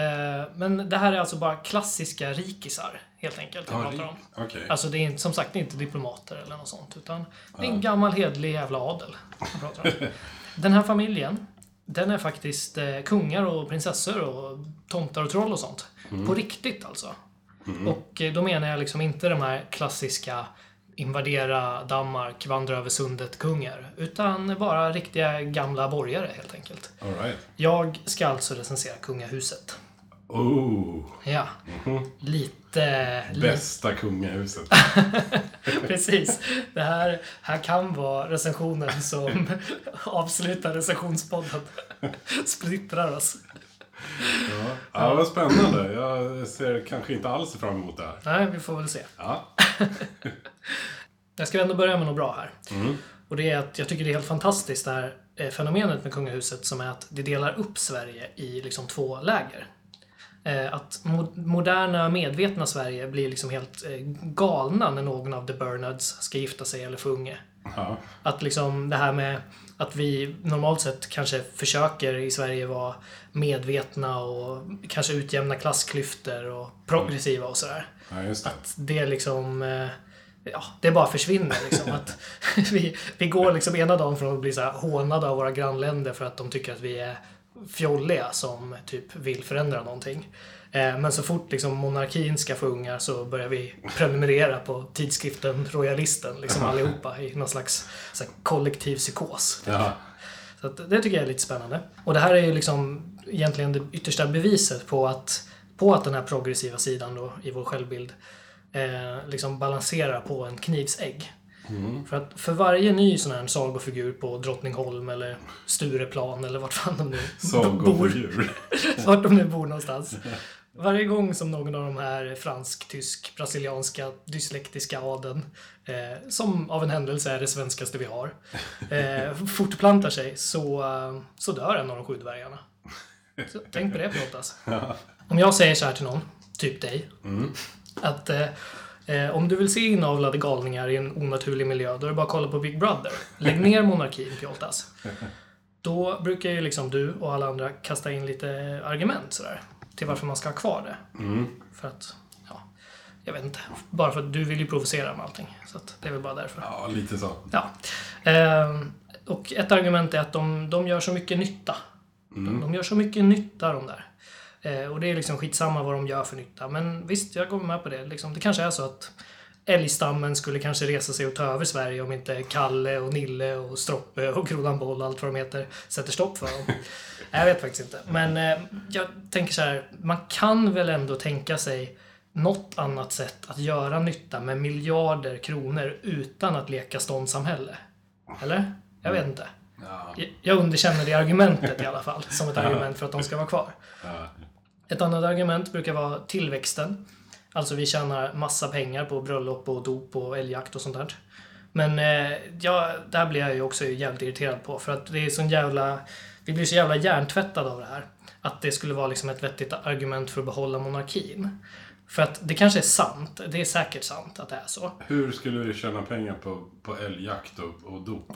S3: Men det här är alltså bara klassiska rikisar helt enkelt. Jag pratar om.
S1: Okej.
S3: Alltså det är inte, som sagt det är inte diplomater eller något sånt. Utan det är en gammal hedlig jävla adel. jag pratar om. Den här familjen, den är faktiskt eh, kungar och prinsessor och tomtar och troll och sånt. På riktigt alltså. Och eh, då menar jag liksom inte de här klassiska invadera Danmark, vandra över sundet kungar. Utan bara riktiga gamla borgare helt enkelt.
S1: All right.
S3: Jag ska alltså recensera kungahuset.
S1: Oh,
S3: Ja. Lite... lite
S1: bästa kungahuset.
S3: Precis. Det här, här kan vara recensionen som avslutar recensionspodden. Splittrar oss.
S1: Ja, ja vad spännande. Jag ser kanske inte alls fram emot det här.
S3: Nej, vi får väl se.
S1: Ja.
S3: Jag ska ändå börja med något bra här. Och det är att jag tycker det är helt fantastiskt det här eh, fenomenet med kungahuset som är att det delar upp Sverige i liksom två läger. Eh, Att mo- moderna medvetna Sverige blir liksom helt eh, galna när någon av the Bernards ska gifta sig eller få unge.
S1: ja.
S3: Att liksom det här med att vi normalt sett kanske försöker i Sverige vara medvetna och kanske utjämna klassklyftor och progressiva och sådär.
S1: Ja, just det.
S3: Det är liksom... eh, Ja, det bara försvinner liksom. Att vi, vi går liksom ena dagen från att bli så här hånade av våra grannländer för att de tycker att vi är fjolliga som typ vill förändra någonting. Eh, Men så fort liksom monarkin ska få ungar så börjar vi prenumerera på tidskriften Royalisten liksom allihopa i någon slags så här, kollektiv psykos.
S1: Ja.
S3: Så att det tycker jag är lite spännande. Och det här är ju liksom egentligen det yttersta beviset på att, på att den här progressiva sidan då, i vår självbild eh, liksom balanserar på en knivsägg. För att för varje ny sån här sagofigur på Drottningholm eller Stureplan eller vart fan de nu bor
S1: Sagofigur.
S3: vart de nu bor någonstans. Varje gång som någon av de här fransk, tysk, brasilianska, dyslektiska adeln, eh, som av en händelse är det svenskaste vi har, eh, fortplantar sig så, eh, så dör en av de sju dvärgarna. Så, tänk på det Plottas. Om jag säger så här till någon, typ dig, att eh, Eh, om du vill se inavlade galningar i en onaturlig miljö, då är det bara att kolla på Big Brother. Lägg ner monarkin, Pjoltas. Då brukar ju liksom du och alla andra kasta in lite argument sådär, till varför man ska ha kvar det. För att, ja, jag vet inte. Bara för att du vill ju provocera med allting. Så att det är väl bara därför.
S1: Ja, lite så.
S3: Ja. Ehm, och ett argument är att de, de gör så mycket nytta. De, de gör så mycket nytta de där. Eh, och det är liksom skitsamma vad de gör för nytta. Men visst, jag går med på det. Liksom, det kanske är så att älgstammen skulle kanske resa sig och ta över Sverige om inte Kalle och Nille och Stroppe och Grodan Boll och allt vad de heter sätter stopp för dem. jag vet faktiskt inte. Men eh, jag tänker så här, man kan väl ändå tänka sig något annat sätt att göra nytta med miljarder kronor utan att leka ståndssamhälle. Eller? Jag vet inte. Jag- Jag underkänner det argumentet i alla fall, som ett argument för att de ska vara kvar. Ett annat argument brukar vara tillväxten. Alltså vi tjänar massa pengar på bröllop och dop och älgjakt och sånt där. Men eh, ja, där blir jag ju också jävligt irriterad på för att det är sån jävla... Vi blir så jävla hjärntvättade av det här. Att det skulle vara liksom ett vettigt argument för att behålla monarkin. För att det kanske är sant. Det är säkert sant att det är så.
S1: Hur skulle du tjäna pengar på, på älgjakt och, och dop?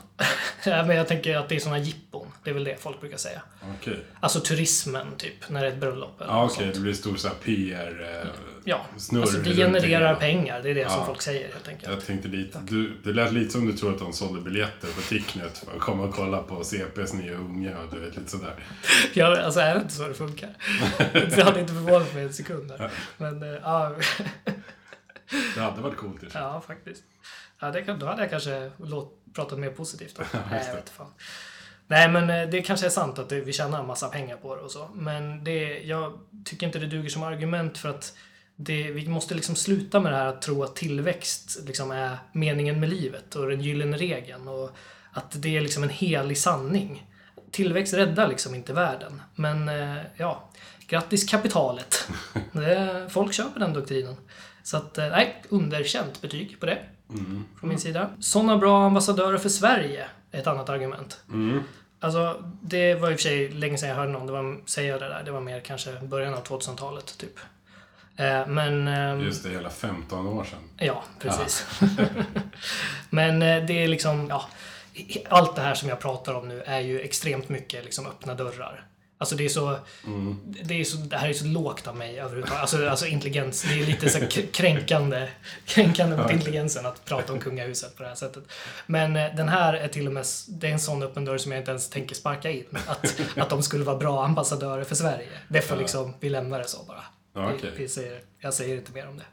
S3: Men jag tänker att det är såna jippon. Det är väl det folk brukar säga.
S1: Okej.
S3: Alltså turismen typ, när det är ett bröllop eller
S1: Ja,
S3: något
S1: okej. Det blir stor så här PR... Eh,
S3: Ja,
S1: Snurr
S3: alltså det
S1: runt
S3: genererar
S1: grejerna.
S3: pengar. Det är det som
S1: Ja.
S3: folk säger helt enkelt.
S1: Jag tänkte lite... Du, det lät lite som du tror att de sålde biljetter på Ticknet för att komma och kolla på CP's nya unga och du vet, lite sådär.
S3: Jag, alltså är det inte så det funkar? det hade inte förvånat mig en sekund. Där. Men eh, ja,
S1: Det hade varit coolt i och för sig.
S3: ja, faktiskt. Ja, det, kan- då hade jag kanske låt, pratat mer positivt. Då. Nej, jag vet fan. Nej, men eh, det kanske är sant att det, vi tjänar en massa pengar på det och så. Men det, jag tycker inte det duger som argument för att det, vi måste liksom sluta med det här att tro att tillväxt liksom är meningen med livet och den gyllene regeln och att det är liksom en helig sanning. Tillväxt räddar liksom inte världen. Men eh, ja, grattis kapitalet. Det, folk köper den doktrinen. Så att, eh, nej, underkänt betyg på det. Från min sida. Sådana bra ambassadörer för Sverige är ett annat argument. Alltså, det var i och för sig länge sedan jag hörde någon det var, säga det där. Det var mer kanske början av 2000-talet, typ. Eh, men... ehm,
S1: Just det, hela 15 år sedan.
S3: Ja, precis. Men eh, det är liksom, ja, i- allt det här som jag pratar om nu är ju extremt mycket liksom öppna dörrar. Alltså det är så, det, är så det här är så lågt av mig överhuvudtaget. Alltså, alltså intelligens, det är lite så här k- kränkande, kränkande mot intelligensen att prata om kungahuset på det här sättet. Men eh, den här är till och med, s- det är en sån öppen dörr som jag inte ens tänker sparka in. Att, att de skulle vara bra ambassadörer för Sverige. Det får liksom, vi lämnar det så bara.
S1: Ja,
S3: Vi-
S1: okej.
S3: vi säger, jag säger inte mer om det.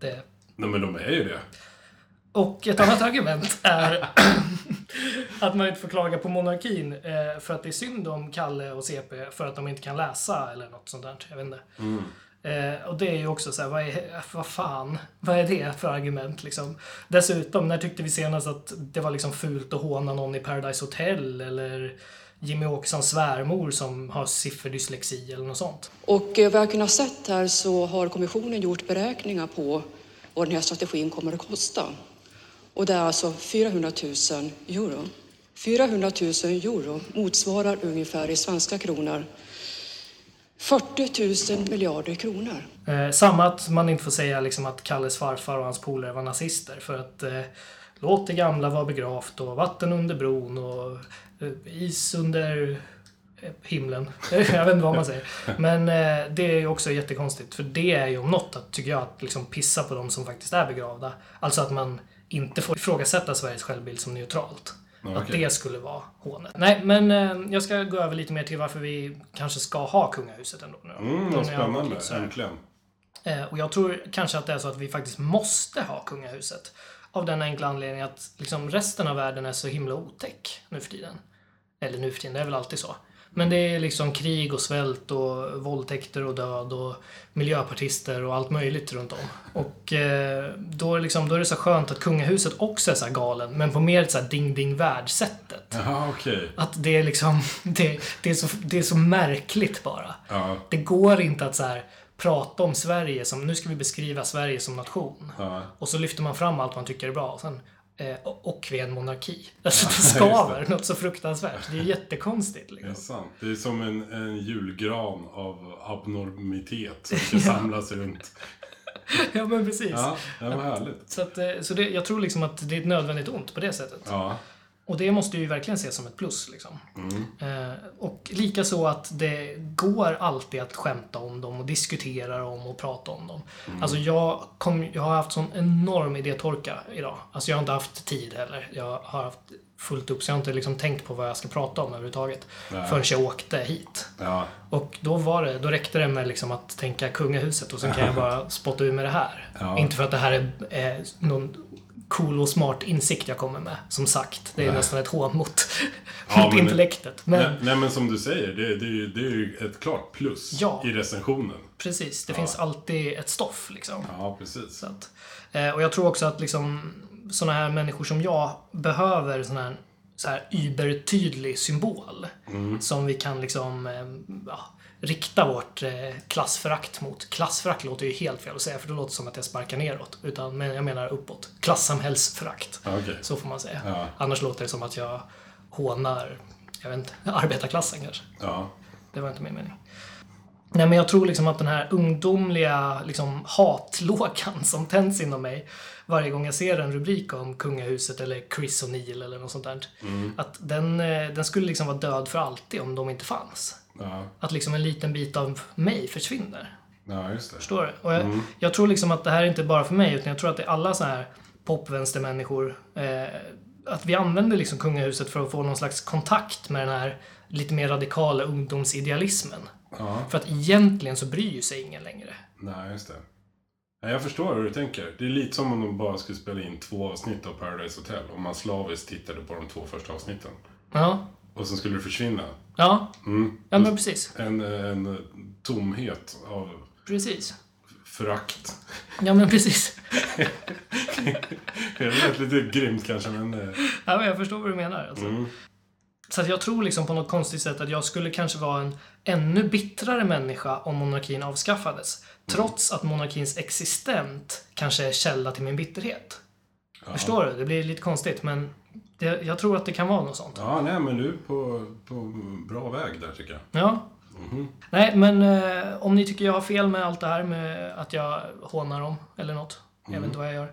S3: det
S1: Nej, men de är ju det.
S3: och ett annat argument är att man inte får klaga på monarkin eh, för att det är synd om Kalle och CP för att de inte kan läsa eller något sånt där. Jag vet inte. Eh, och det är ju också så här, vad, är, vad fan, vad är det för argument liksom? Dessutom, när tyckte vi senast att det var liksom fult att håna någon i Paradise Hotel eller Jimmy Åkessons svärmor som har sifferdyslexi eller något sånt?
S6: Och eh, vad jag kunnat sett här så har kommissionen gjort beräkningar på vad den här strategin kommer att kosta. Och det är alltså 400 000 euro. 400 000 euro motsvarar ungefär i svenska kronor 40 000 miljarder kronor.
S3: Eh, samma att man inte får säga liksom att Kalles farfar och hans polare var nazister för att eh, låt det gamla vara begravt och vatten under bron och eh, is under eh, himlen. jag vet inte vad man säger. Men eh, det är ju också jättekonstigt för det är ju om något att, tycker jag, att liksom pissa på de som faktiskt är begravda. Alltså att man inte får ifrågasätta Sveriges självbild som neutralt. Att
S1: okej.
S3: det skulle vara hånet. Nej, men eh, jag ska gå över lite mer till varför vi kanske ska ha kungahuset ändå nu.
S1: Mm,
S3: Nu när
S1: vad
S3: jag har gått
S1: spännande.
S3: lite så här.
S1: Äntligen.
S3: Eh, Och jag tror kanske att det är så att vi faktiskt måste ha kungahuset. Av den enkla anledningen att liksom resten av världen är så himla otäck nu för tiden. Eller nu för tiden, det är väl alltid så. Men det är liksom krig och svält och våldtäkter och död och miljöpartister och allt möjligt runt om. Och eh, då, är liksom, då är det så skönt att kungahuset också är så här galen, men på mer så här ding-ding-värld-sättet.
S1: Ja, okej.
S3: Att det är liksom, det, det, är så, det är så märkligt bara.
S1: Ja.
S3: Det går inte att så här, prata om Sverige som, nu ska vi beskriva Sverige som nation. Och så lyfter man fram allt man tycker är bra. Och, sen, eh, och och vi är en monarki. Alltså det skaver något så fruktansvärt. Det är jättekonstigt.
S1: Det är
S3: Liksom.
S1: sant. Det är som en, en julgran av abnormitet som ska samlas runt.
S3: ja, men precis.
S1: Ja, det var härligt.
S3: Så, att, eh, så det, jag tror liksom att det är ett nödvändigt ont på det sättet.
S1: Ja.
S3: Och det måste ju verkligen ses som ett plus. Liksom. Eh, och lika så att det går alltid att skämta om dem och diskutera dem och prata om dem. Alltså jag, kom, jag har haft sån enorm idétorka idag. Alltså jag har inte haft tid heller. Jag har haft fullt upp så jag har inte liksom tänkt på vad jag ska prata om överhuvudtaget. Förrän jag åkte hit.
S1: Ja.
S3: Och då, var det, då räckte det med liksom att tänka kungahuset och sen kan jag bara spotta ur med det här.
S1: Ja.
S3: Inte för att det här är, är någon cool och smart insikt jag kommer med. Som sagt, det är nästan ett hån mot,
S1: Ja,
S3: mot
S1: men-
S3: intellektet. Men
S1: Nej, nej, men som du säger, det, det, är ju, det är ju ett klart plus
S3: Ja.
S1: i recensionen.
S3: precis, det finns alltid ett stoff liksom.
S1: Ja, precis.
S3: Så att, eh, och jag tror också att liksom, såna här människor som jag behöver sån här, så här ybertydlig symbol.
S1: Mm.
S3: Som vi kan liksom, eh, ja, rikta vårt eh, klassförakt mot. Klassförakt låter ju helt fel att säga för det låter som att jag sparkar neråt. Utan men jag menar uppåt. Klassamhällsförakt.
S1: Ja, Okej.
S3: Så får man säga.
S1: Ja.
S3: Annars låter det som att jag hånar, jag vet inte, arbetarklassen kanske.
S1: Ja.
S3: Det var inte min mening. Nej, men jag tror liksom att den här ungdomliga liksom, hatlåkan som tänds inom mig varje gång jag ser en rubrik om kungahuset eller Chris O'Neill eller något sånt där. Att den, eh, den skulle liksom vara död för alltid om de inte fanns.
S1: Ja.
S3: Att liksom en liten bit av mig försvinner.
S1: ja, just det.
S3: Förstår du? Och jag, jag tror liksom att det här är inte bara för mig, utan jag tror att det är alla så här popvänstermänniskor. Eh, att vi använder liksom kungahuset för att få någon slags kontakt med den här lite mer radikala ungdomsidealismen.
S1: Ja.
S3: För att egentligen så bryr ju sig ingen längre.
S1: Nej, just det. Nej, jag förstår hur du tänker. Det är lite som om de bara skulle spela in två avsnitt av Paradise Hotel. Om man slaviskt tittade på de två första avsnitten.
S3: Ja.
S1: Och sen skulle det försvinna.
S3: Ja. Ja, men precis.
S1: En, en tomhet av
S3: Precis.
S1: förakt.
S3: Ja, men precis.
S1: Det lät lite grymt kanske, men... eh,
S3: Ja, men jag förstår vad du menar. Alltså. Så att jag tror liksom på något konstigt sätt att jag skulle kanske vara en ännu bittrare människa om monarkin avskaffades. Trots att monarkins existent kanske är källa till min bitterhet. Förstår du? Det blir lite konstigt, men det, jag tror att det kan vara något sånt.
S1: Ja, nej, men du är på, på bra väg där tycker jag.
S3: Ja. Nej, men eh, om ni tycker jag har fel med allt det här med att jag hånar dem eller något. Jag vet inte vad jag gör.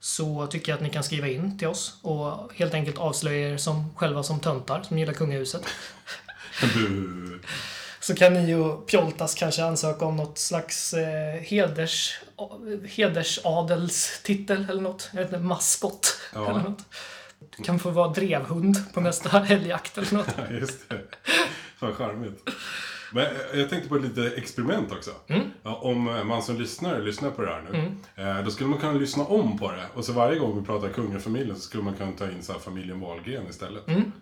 S3: Så tycker jag att ni kan skriva in till oss och helt enkelt avslöja er som, själva som töntar som gillar kungahuset.
S1: Bu.
S3: Så kan ni och Pjoltas kanske ansöka om något slags eh, heders, hedersadelstitel eller något. Jag vet inte, maskott
S1: Ja.
S3: eller något. Du kan få vara drevhund på nästa helgjakt eller något.
S1: Ja, just det. Fan, charmigt. Men eh, jag tänkte på ett litet experiment också.
S3: Mm.
S1: Ja, om eh, man som lyssnare lyssnar på det här nu, eh, då skulle man kunna lyssna om på det. Och så varje gång vi pratar kungafamiljen så skulle man kunna ta in så här familjen Wahlgren istället.
S3: Mm.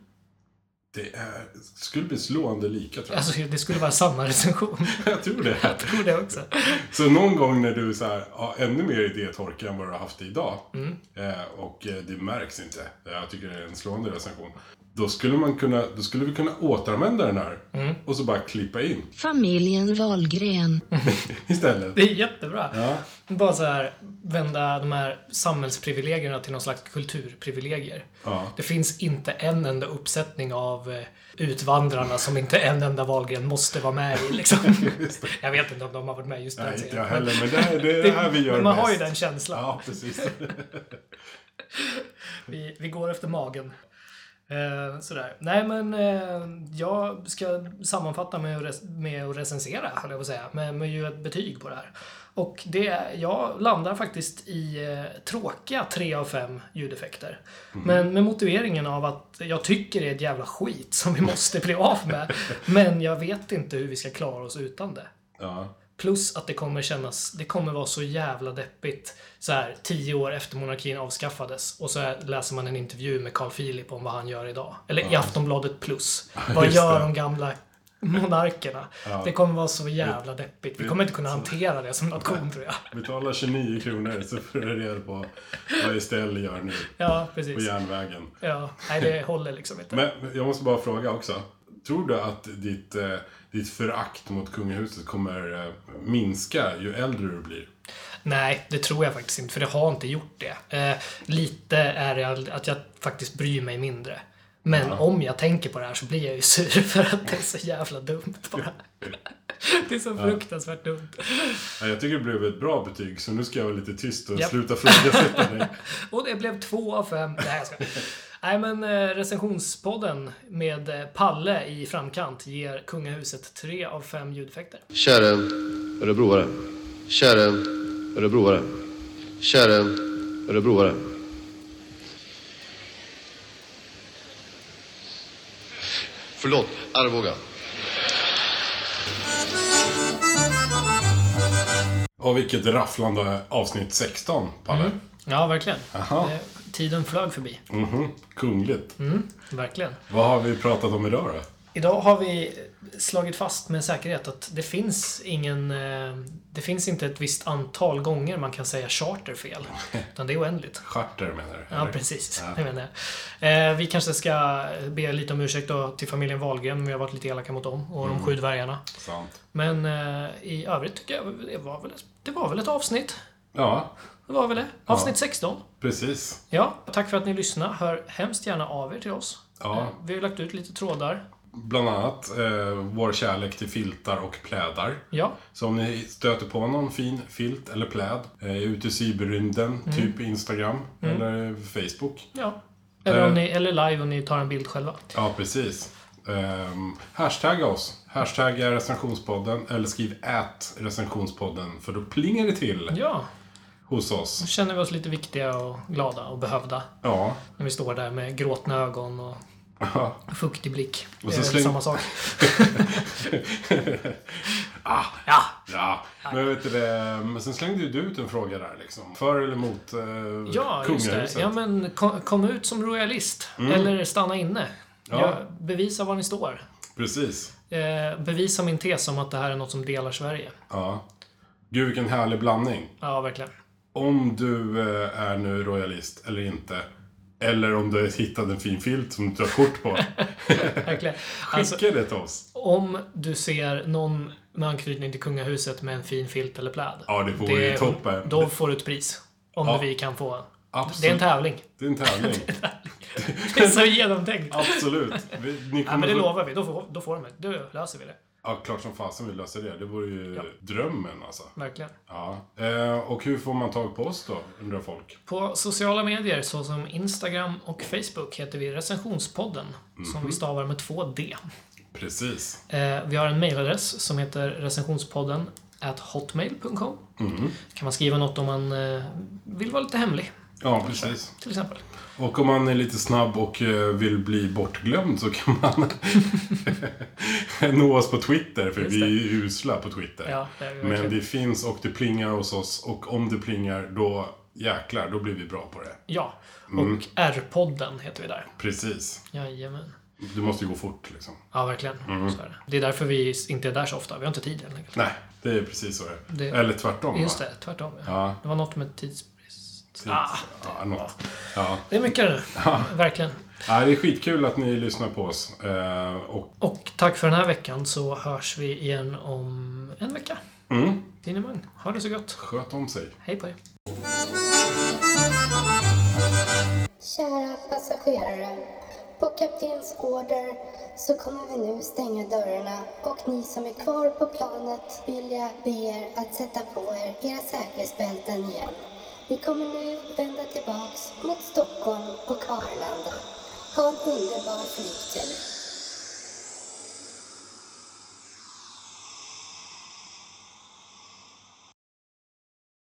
S1: Det är, skulle bli slående lika tror jag.
S3: Alltså det skulle vara samma recension.
S1: Jag tror det.
S3: Jag tror det också.
S1: Så någon gång när du så här, har ännu mer idétorka än vad du har haft idag
S3: Mm.
S1: eh, och eh, det märks inte, eh, jag tycker det är en slående recension. Då skulle, man kunna, då skulle vi kunna återanvända den här
S3: Mm.
S1: och så bara klippa in
S7: Familjen Wahlgren.
S1: istället.
S3: Det är jättebra.
S1: Ja,
S3: Bara så här, vända de här samhällsprivilegierna till någon slags kulturprivilegier.
S1: ja.
S3: Det finns inte en enda uppsättning av eh, Utvandrarna som inte en enda Wahlgren måste vara med i. Liksom. jag vet inte om de har varit med just den
S1: Nej, inte jag
S3: serien,
S1: heller, men det, här, det är det här vi gör
S3: men man
S1: bäst.
S3: har ju den känslan.
S1: Ja, precis.
S3: Vi, vi går efter magen. Eh, sådär. Nej men eh, jag ska sammanfatta med att, rec- med att recensera, höll jag på att säga. Med, med ju ett betyg på det här. Och det, jag landar faktiskt i eh, tråkiga 3 av 5 ljudeffekter. Men med motiveringen av att jag tycker det är ett jävla skit som vi måste bli av med. Men jag vet inte hur vi ska klara oss utan det.
S1: Ja,
S3: Plus att det kommer kännas, det kommer vara så jävla deppigt så här tio år efter monarkin avskaffades och så här, läser man en intervju med Carl Philip om vad han gör idag. Eller i Aftonbladet plus. Vad
S1: just
S3: gör
S1: det.
S3: de gamla monarkerna? Det kommer vara så jävla deppigt. Vi kommer inte kunna hantera det som nation tror jag.
S1: betala 29 kronor så får du reda på vad Estelle gör nu
S3: Ja,
S1: på
S3: precis.
S1: järnvägen.
S3: Ja, nej det håller liksom inte.
S1: Men men jag måste bara fråga också. Tror du att ditt, eh, ditt förakt mot kungahuset kommer eh, minska ju äldre du blir?
S3: Nej, det tror jag faktiskt inte, för det har inte gjort det. Eh, lite är det all- att jag faktiskt bryr mig mindre. Men om jag tänker på det här så blir jag ju sur för att det är så jävla dumt bara. Det är så fruktansvärt dumt.
S1: Ja, jag tycker det blev ett bra betyg, så nu ska jag vara lite tyst och
S3: Japp.
S1: sluta frågasätta dig.
S3: Och det blev två av fem. Nej, jag skojar. Nej, men eh, recensionspodden med eh, Palle i framkant ger Kungahuset tre av fem ljudeffekter.
S8: Kära örebroare. Kära örebroare. Kära örebroare. Förlåt, Arboga.
S1: Och vilket rafflande avsnitt 16, Palle.
S3: Ja, verkligen.
S1: Jaha.
S3: Eh, Tiden flög förbi.
S1: Mhm. Kungligt.
S3: Mm. Verkligen.
S1: Vad har vi pratat om idag då?
S3: Idag har vi slagit fast med säkerhet att det finns ingen... eh, Det finns inte ett visst antal gånger man kan säga charter fel. Utan det är oändligt.
S1: Charter menar du?
S3: Ja,
S1: eller?
S3: precis.
S1: Ja.
S3: Det menar jag. Eh, vi kanske ska be lite om ursäkt då till familjen Wahlgren om vi har varit lite elaka mot dem och
S1: Mm.
S3: de sju dvärgarna.
S1: Sant.
S3: Men eh, i övrigt tycker jag det var väl, det var väl ett avsnitt.
S1: Ja,
S3: Det var väl det. Avsnitt 16.
S1: precis.
S3: Ja, tack för att ni lyssnade. Hör hemskt gärna av er till oss.
S1: Ja.
S3: Eh, Vi har lagt ut lite trådar.
S1: Bland annat eh, vår kärlek till filtar och plädar.
S3: Ja,
S1: Så om ni stöter på någon fin filt eller pläd eh, ute i cyberrymden,
S3: Mm.
S1: typ Instagram eller Facebook.
S3: ja. Eller, om
S1: Eh.
S3: ni, eller live om ni tar en bild själva.
S1: Ja, precis. Um, hashtagga oss. Hashtagga recensionspodden eller skriv ät recensionspodden för då plingar det till
S3: Ja,
S1: hos oss.
S3: då känner vi oss lite viktiga och glada och behövda.
S1: Ja.
S3: När vi står där med gråtna ögon och
S1: Ja.
S3: fuktig blick.
S1: Och
S3: det
S1: så
S3: är
S1: släng-
S3: väl samma sak.
S1: ah,
S3: Ja,
S1: ja. Men vet du det, men sen slängde ju du ut en fråga där liksom. För eller mot eh,
S3: ja just det.
S1: kungahuset? Mm.
S3: Ja, men kom, kom ut som royalist. Eller stanna inne.
S1: Ja.
S3: Ja, bevisa var ni står.
S1: Precis.
S3: Eh, bevisa min tes om att det här är något som delar Sverige.
S1: Ja. Gud, vilken härlig blandning.
S3: Ja, verkligen.
S1: om du eh, är nu royalist eller inte. Eller om du har hittat en fin filt som du tar kort på.
S3: verkligen. Alltså,
S1: Skicka det till oss.
S3: om du ser någon med anknytning till kungahuset med en fin filt eller pläd.
S1: Ja, det vore ju toppen.
S3: Då får du ett pris. Om vi kan få en. Det är en
S1: Absolut.
S3: tävling.
S1: Det är en tävling.
S3: Det är så genomtänkt.
S1: Absolut. Vi, ni
S3: Ja, men
S1: kommer
S3: det
S1: få-
S3: lovar vi. Då får, då får de det. Då löser vi det.
S1: Ja, klart som fasen vi löser det. Det vore ju drömmen alltså.
S3: Verkligen.
S1: Ja. Eh, och hur får man tag på oss då, undrar folk?
S3: På sociala medier såsom Instagram och Facebook heter vi Recensionspodden. Som vi
S1: Mhm.
S3: stavar med två D.
S1: Precis.
S3: Eh, vi har en mailadress som heter recensionspodden at hotmail.com.
S1: Mhm.
S3: Kan man skriva något om man eh, vill vara lite hemlig,
S1: Ja, precis.
S3: till exempel.
S1: Och om man är lite snabb och eh, vill bli bortglömd så kan man nå oss på Twitter, för
S3: Just
S1: vi
S3: det.
S1: är ju usla på Twitter.
S3: Ja, det är vi
S1: Men
S3: verkligen.
S1: det finns och det plingar hos oss och om det plingar då jäklar, då blir vi bra på det.
S3: Ja, och
S1: Mm.
S3: R-podden heter vi där.
S1: Precis.
S3: Jajamän.
S1: Det måste ju gå fort liksom.
S3: Ja, verkligen. Så är det. det är därför vi inte är där så ofta. Vi har inte tid helt enkelt.
S1: Nej, det är precis så det
S3: Det-
S1: är. Eller tvärtom
S3: Just
S1: va?
S3: det, tvärtom. Ja.
S1: Ja.
S3: Det var något med tidsbrist. Ah,
S1: Ja, något. Ja.
S3: det är mycket det. Verkligen.
S1: ja, det är skitkul att ni lyssnar på oss. Eh, och
S3: Och tack för den här veckan så hörs vi igen om en vecka.
S1: mm,
S3: Dinemang, ha det så gött.
S1: sköt om sig.
S3: Hej på er.
S9: Kära passagerare. På kaptenens order så kommer vi nu stänga dörrarna och ni som är kvar på planet vill jag be er att sätta på er era säkerhetsbälten igen. Vi kommer nu vända tillbaks mot Stockholm och Arlanda. Ha en underbar flygtur.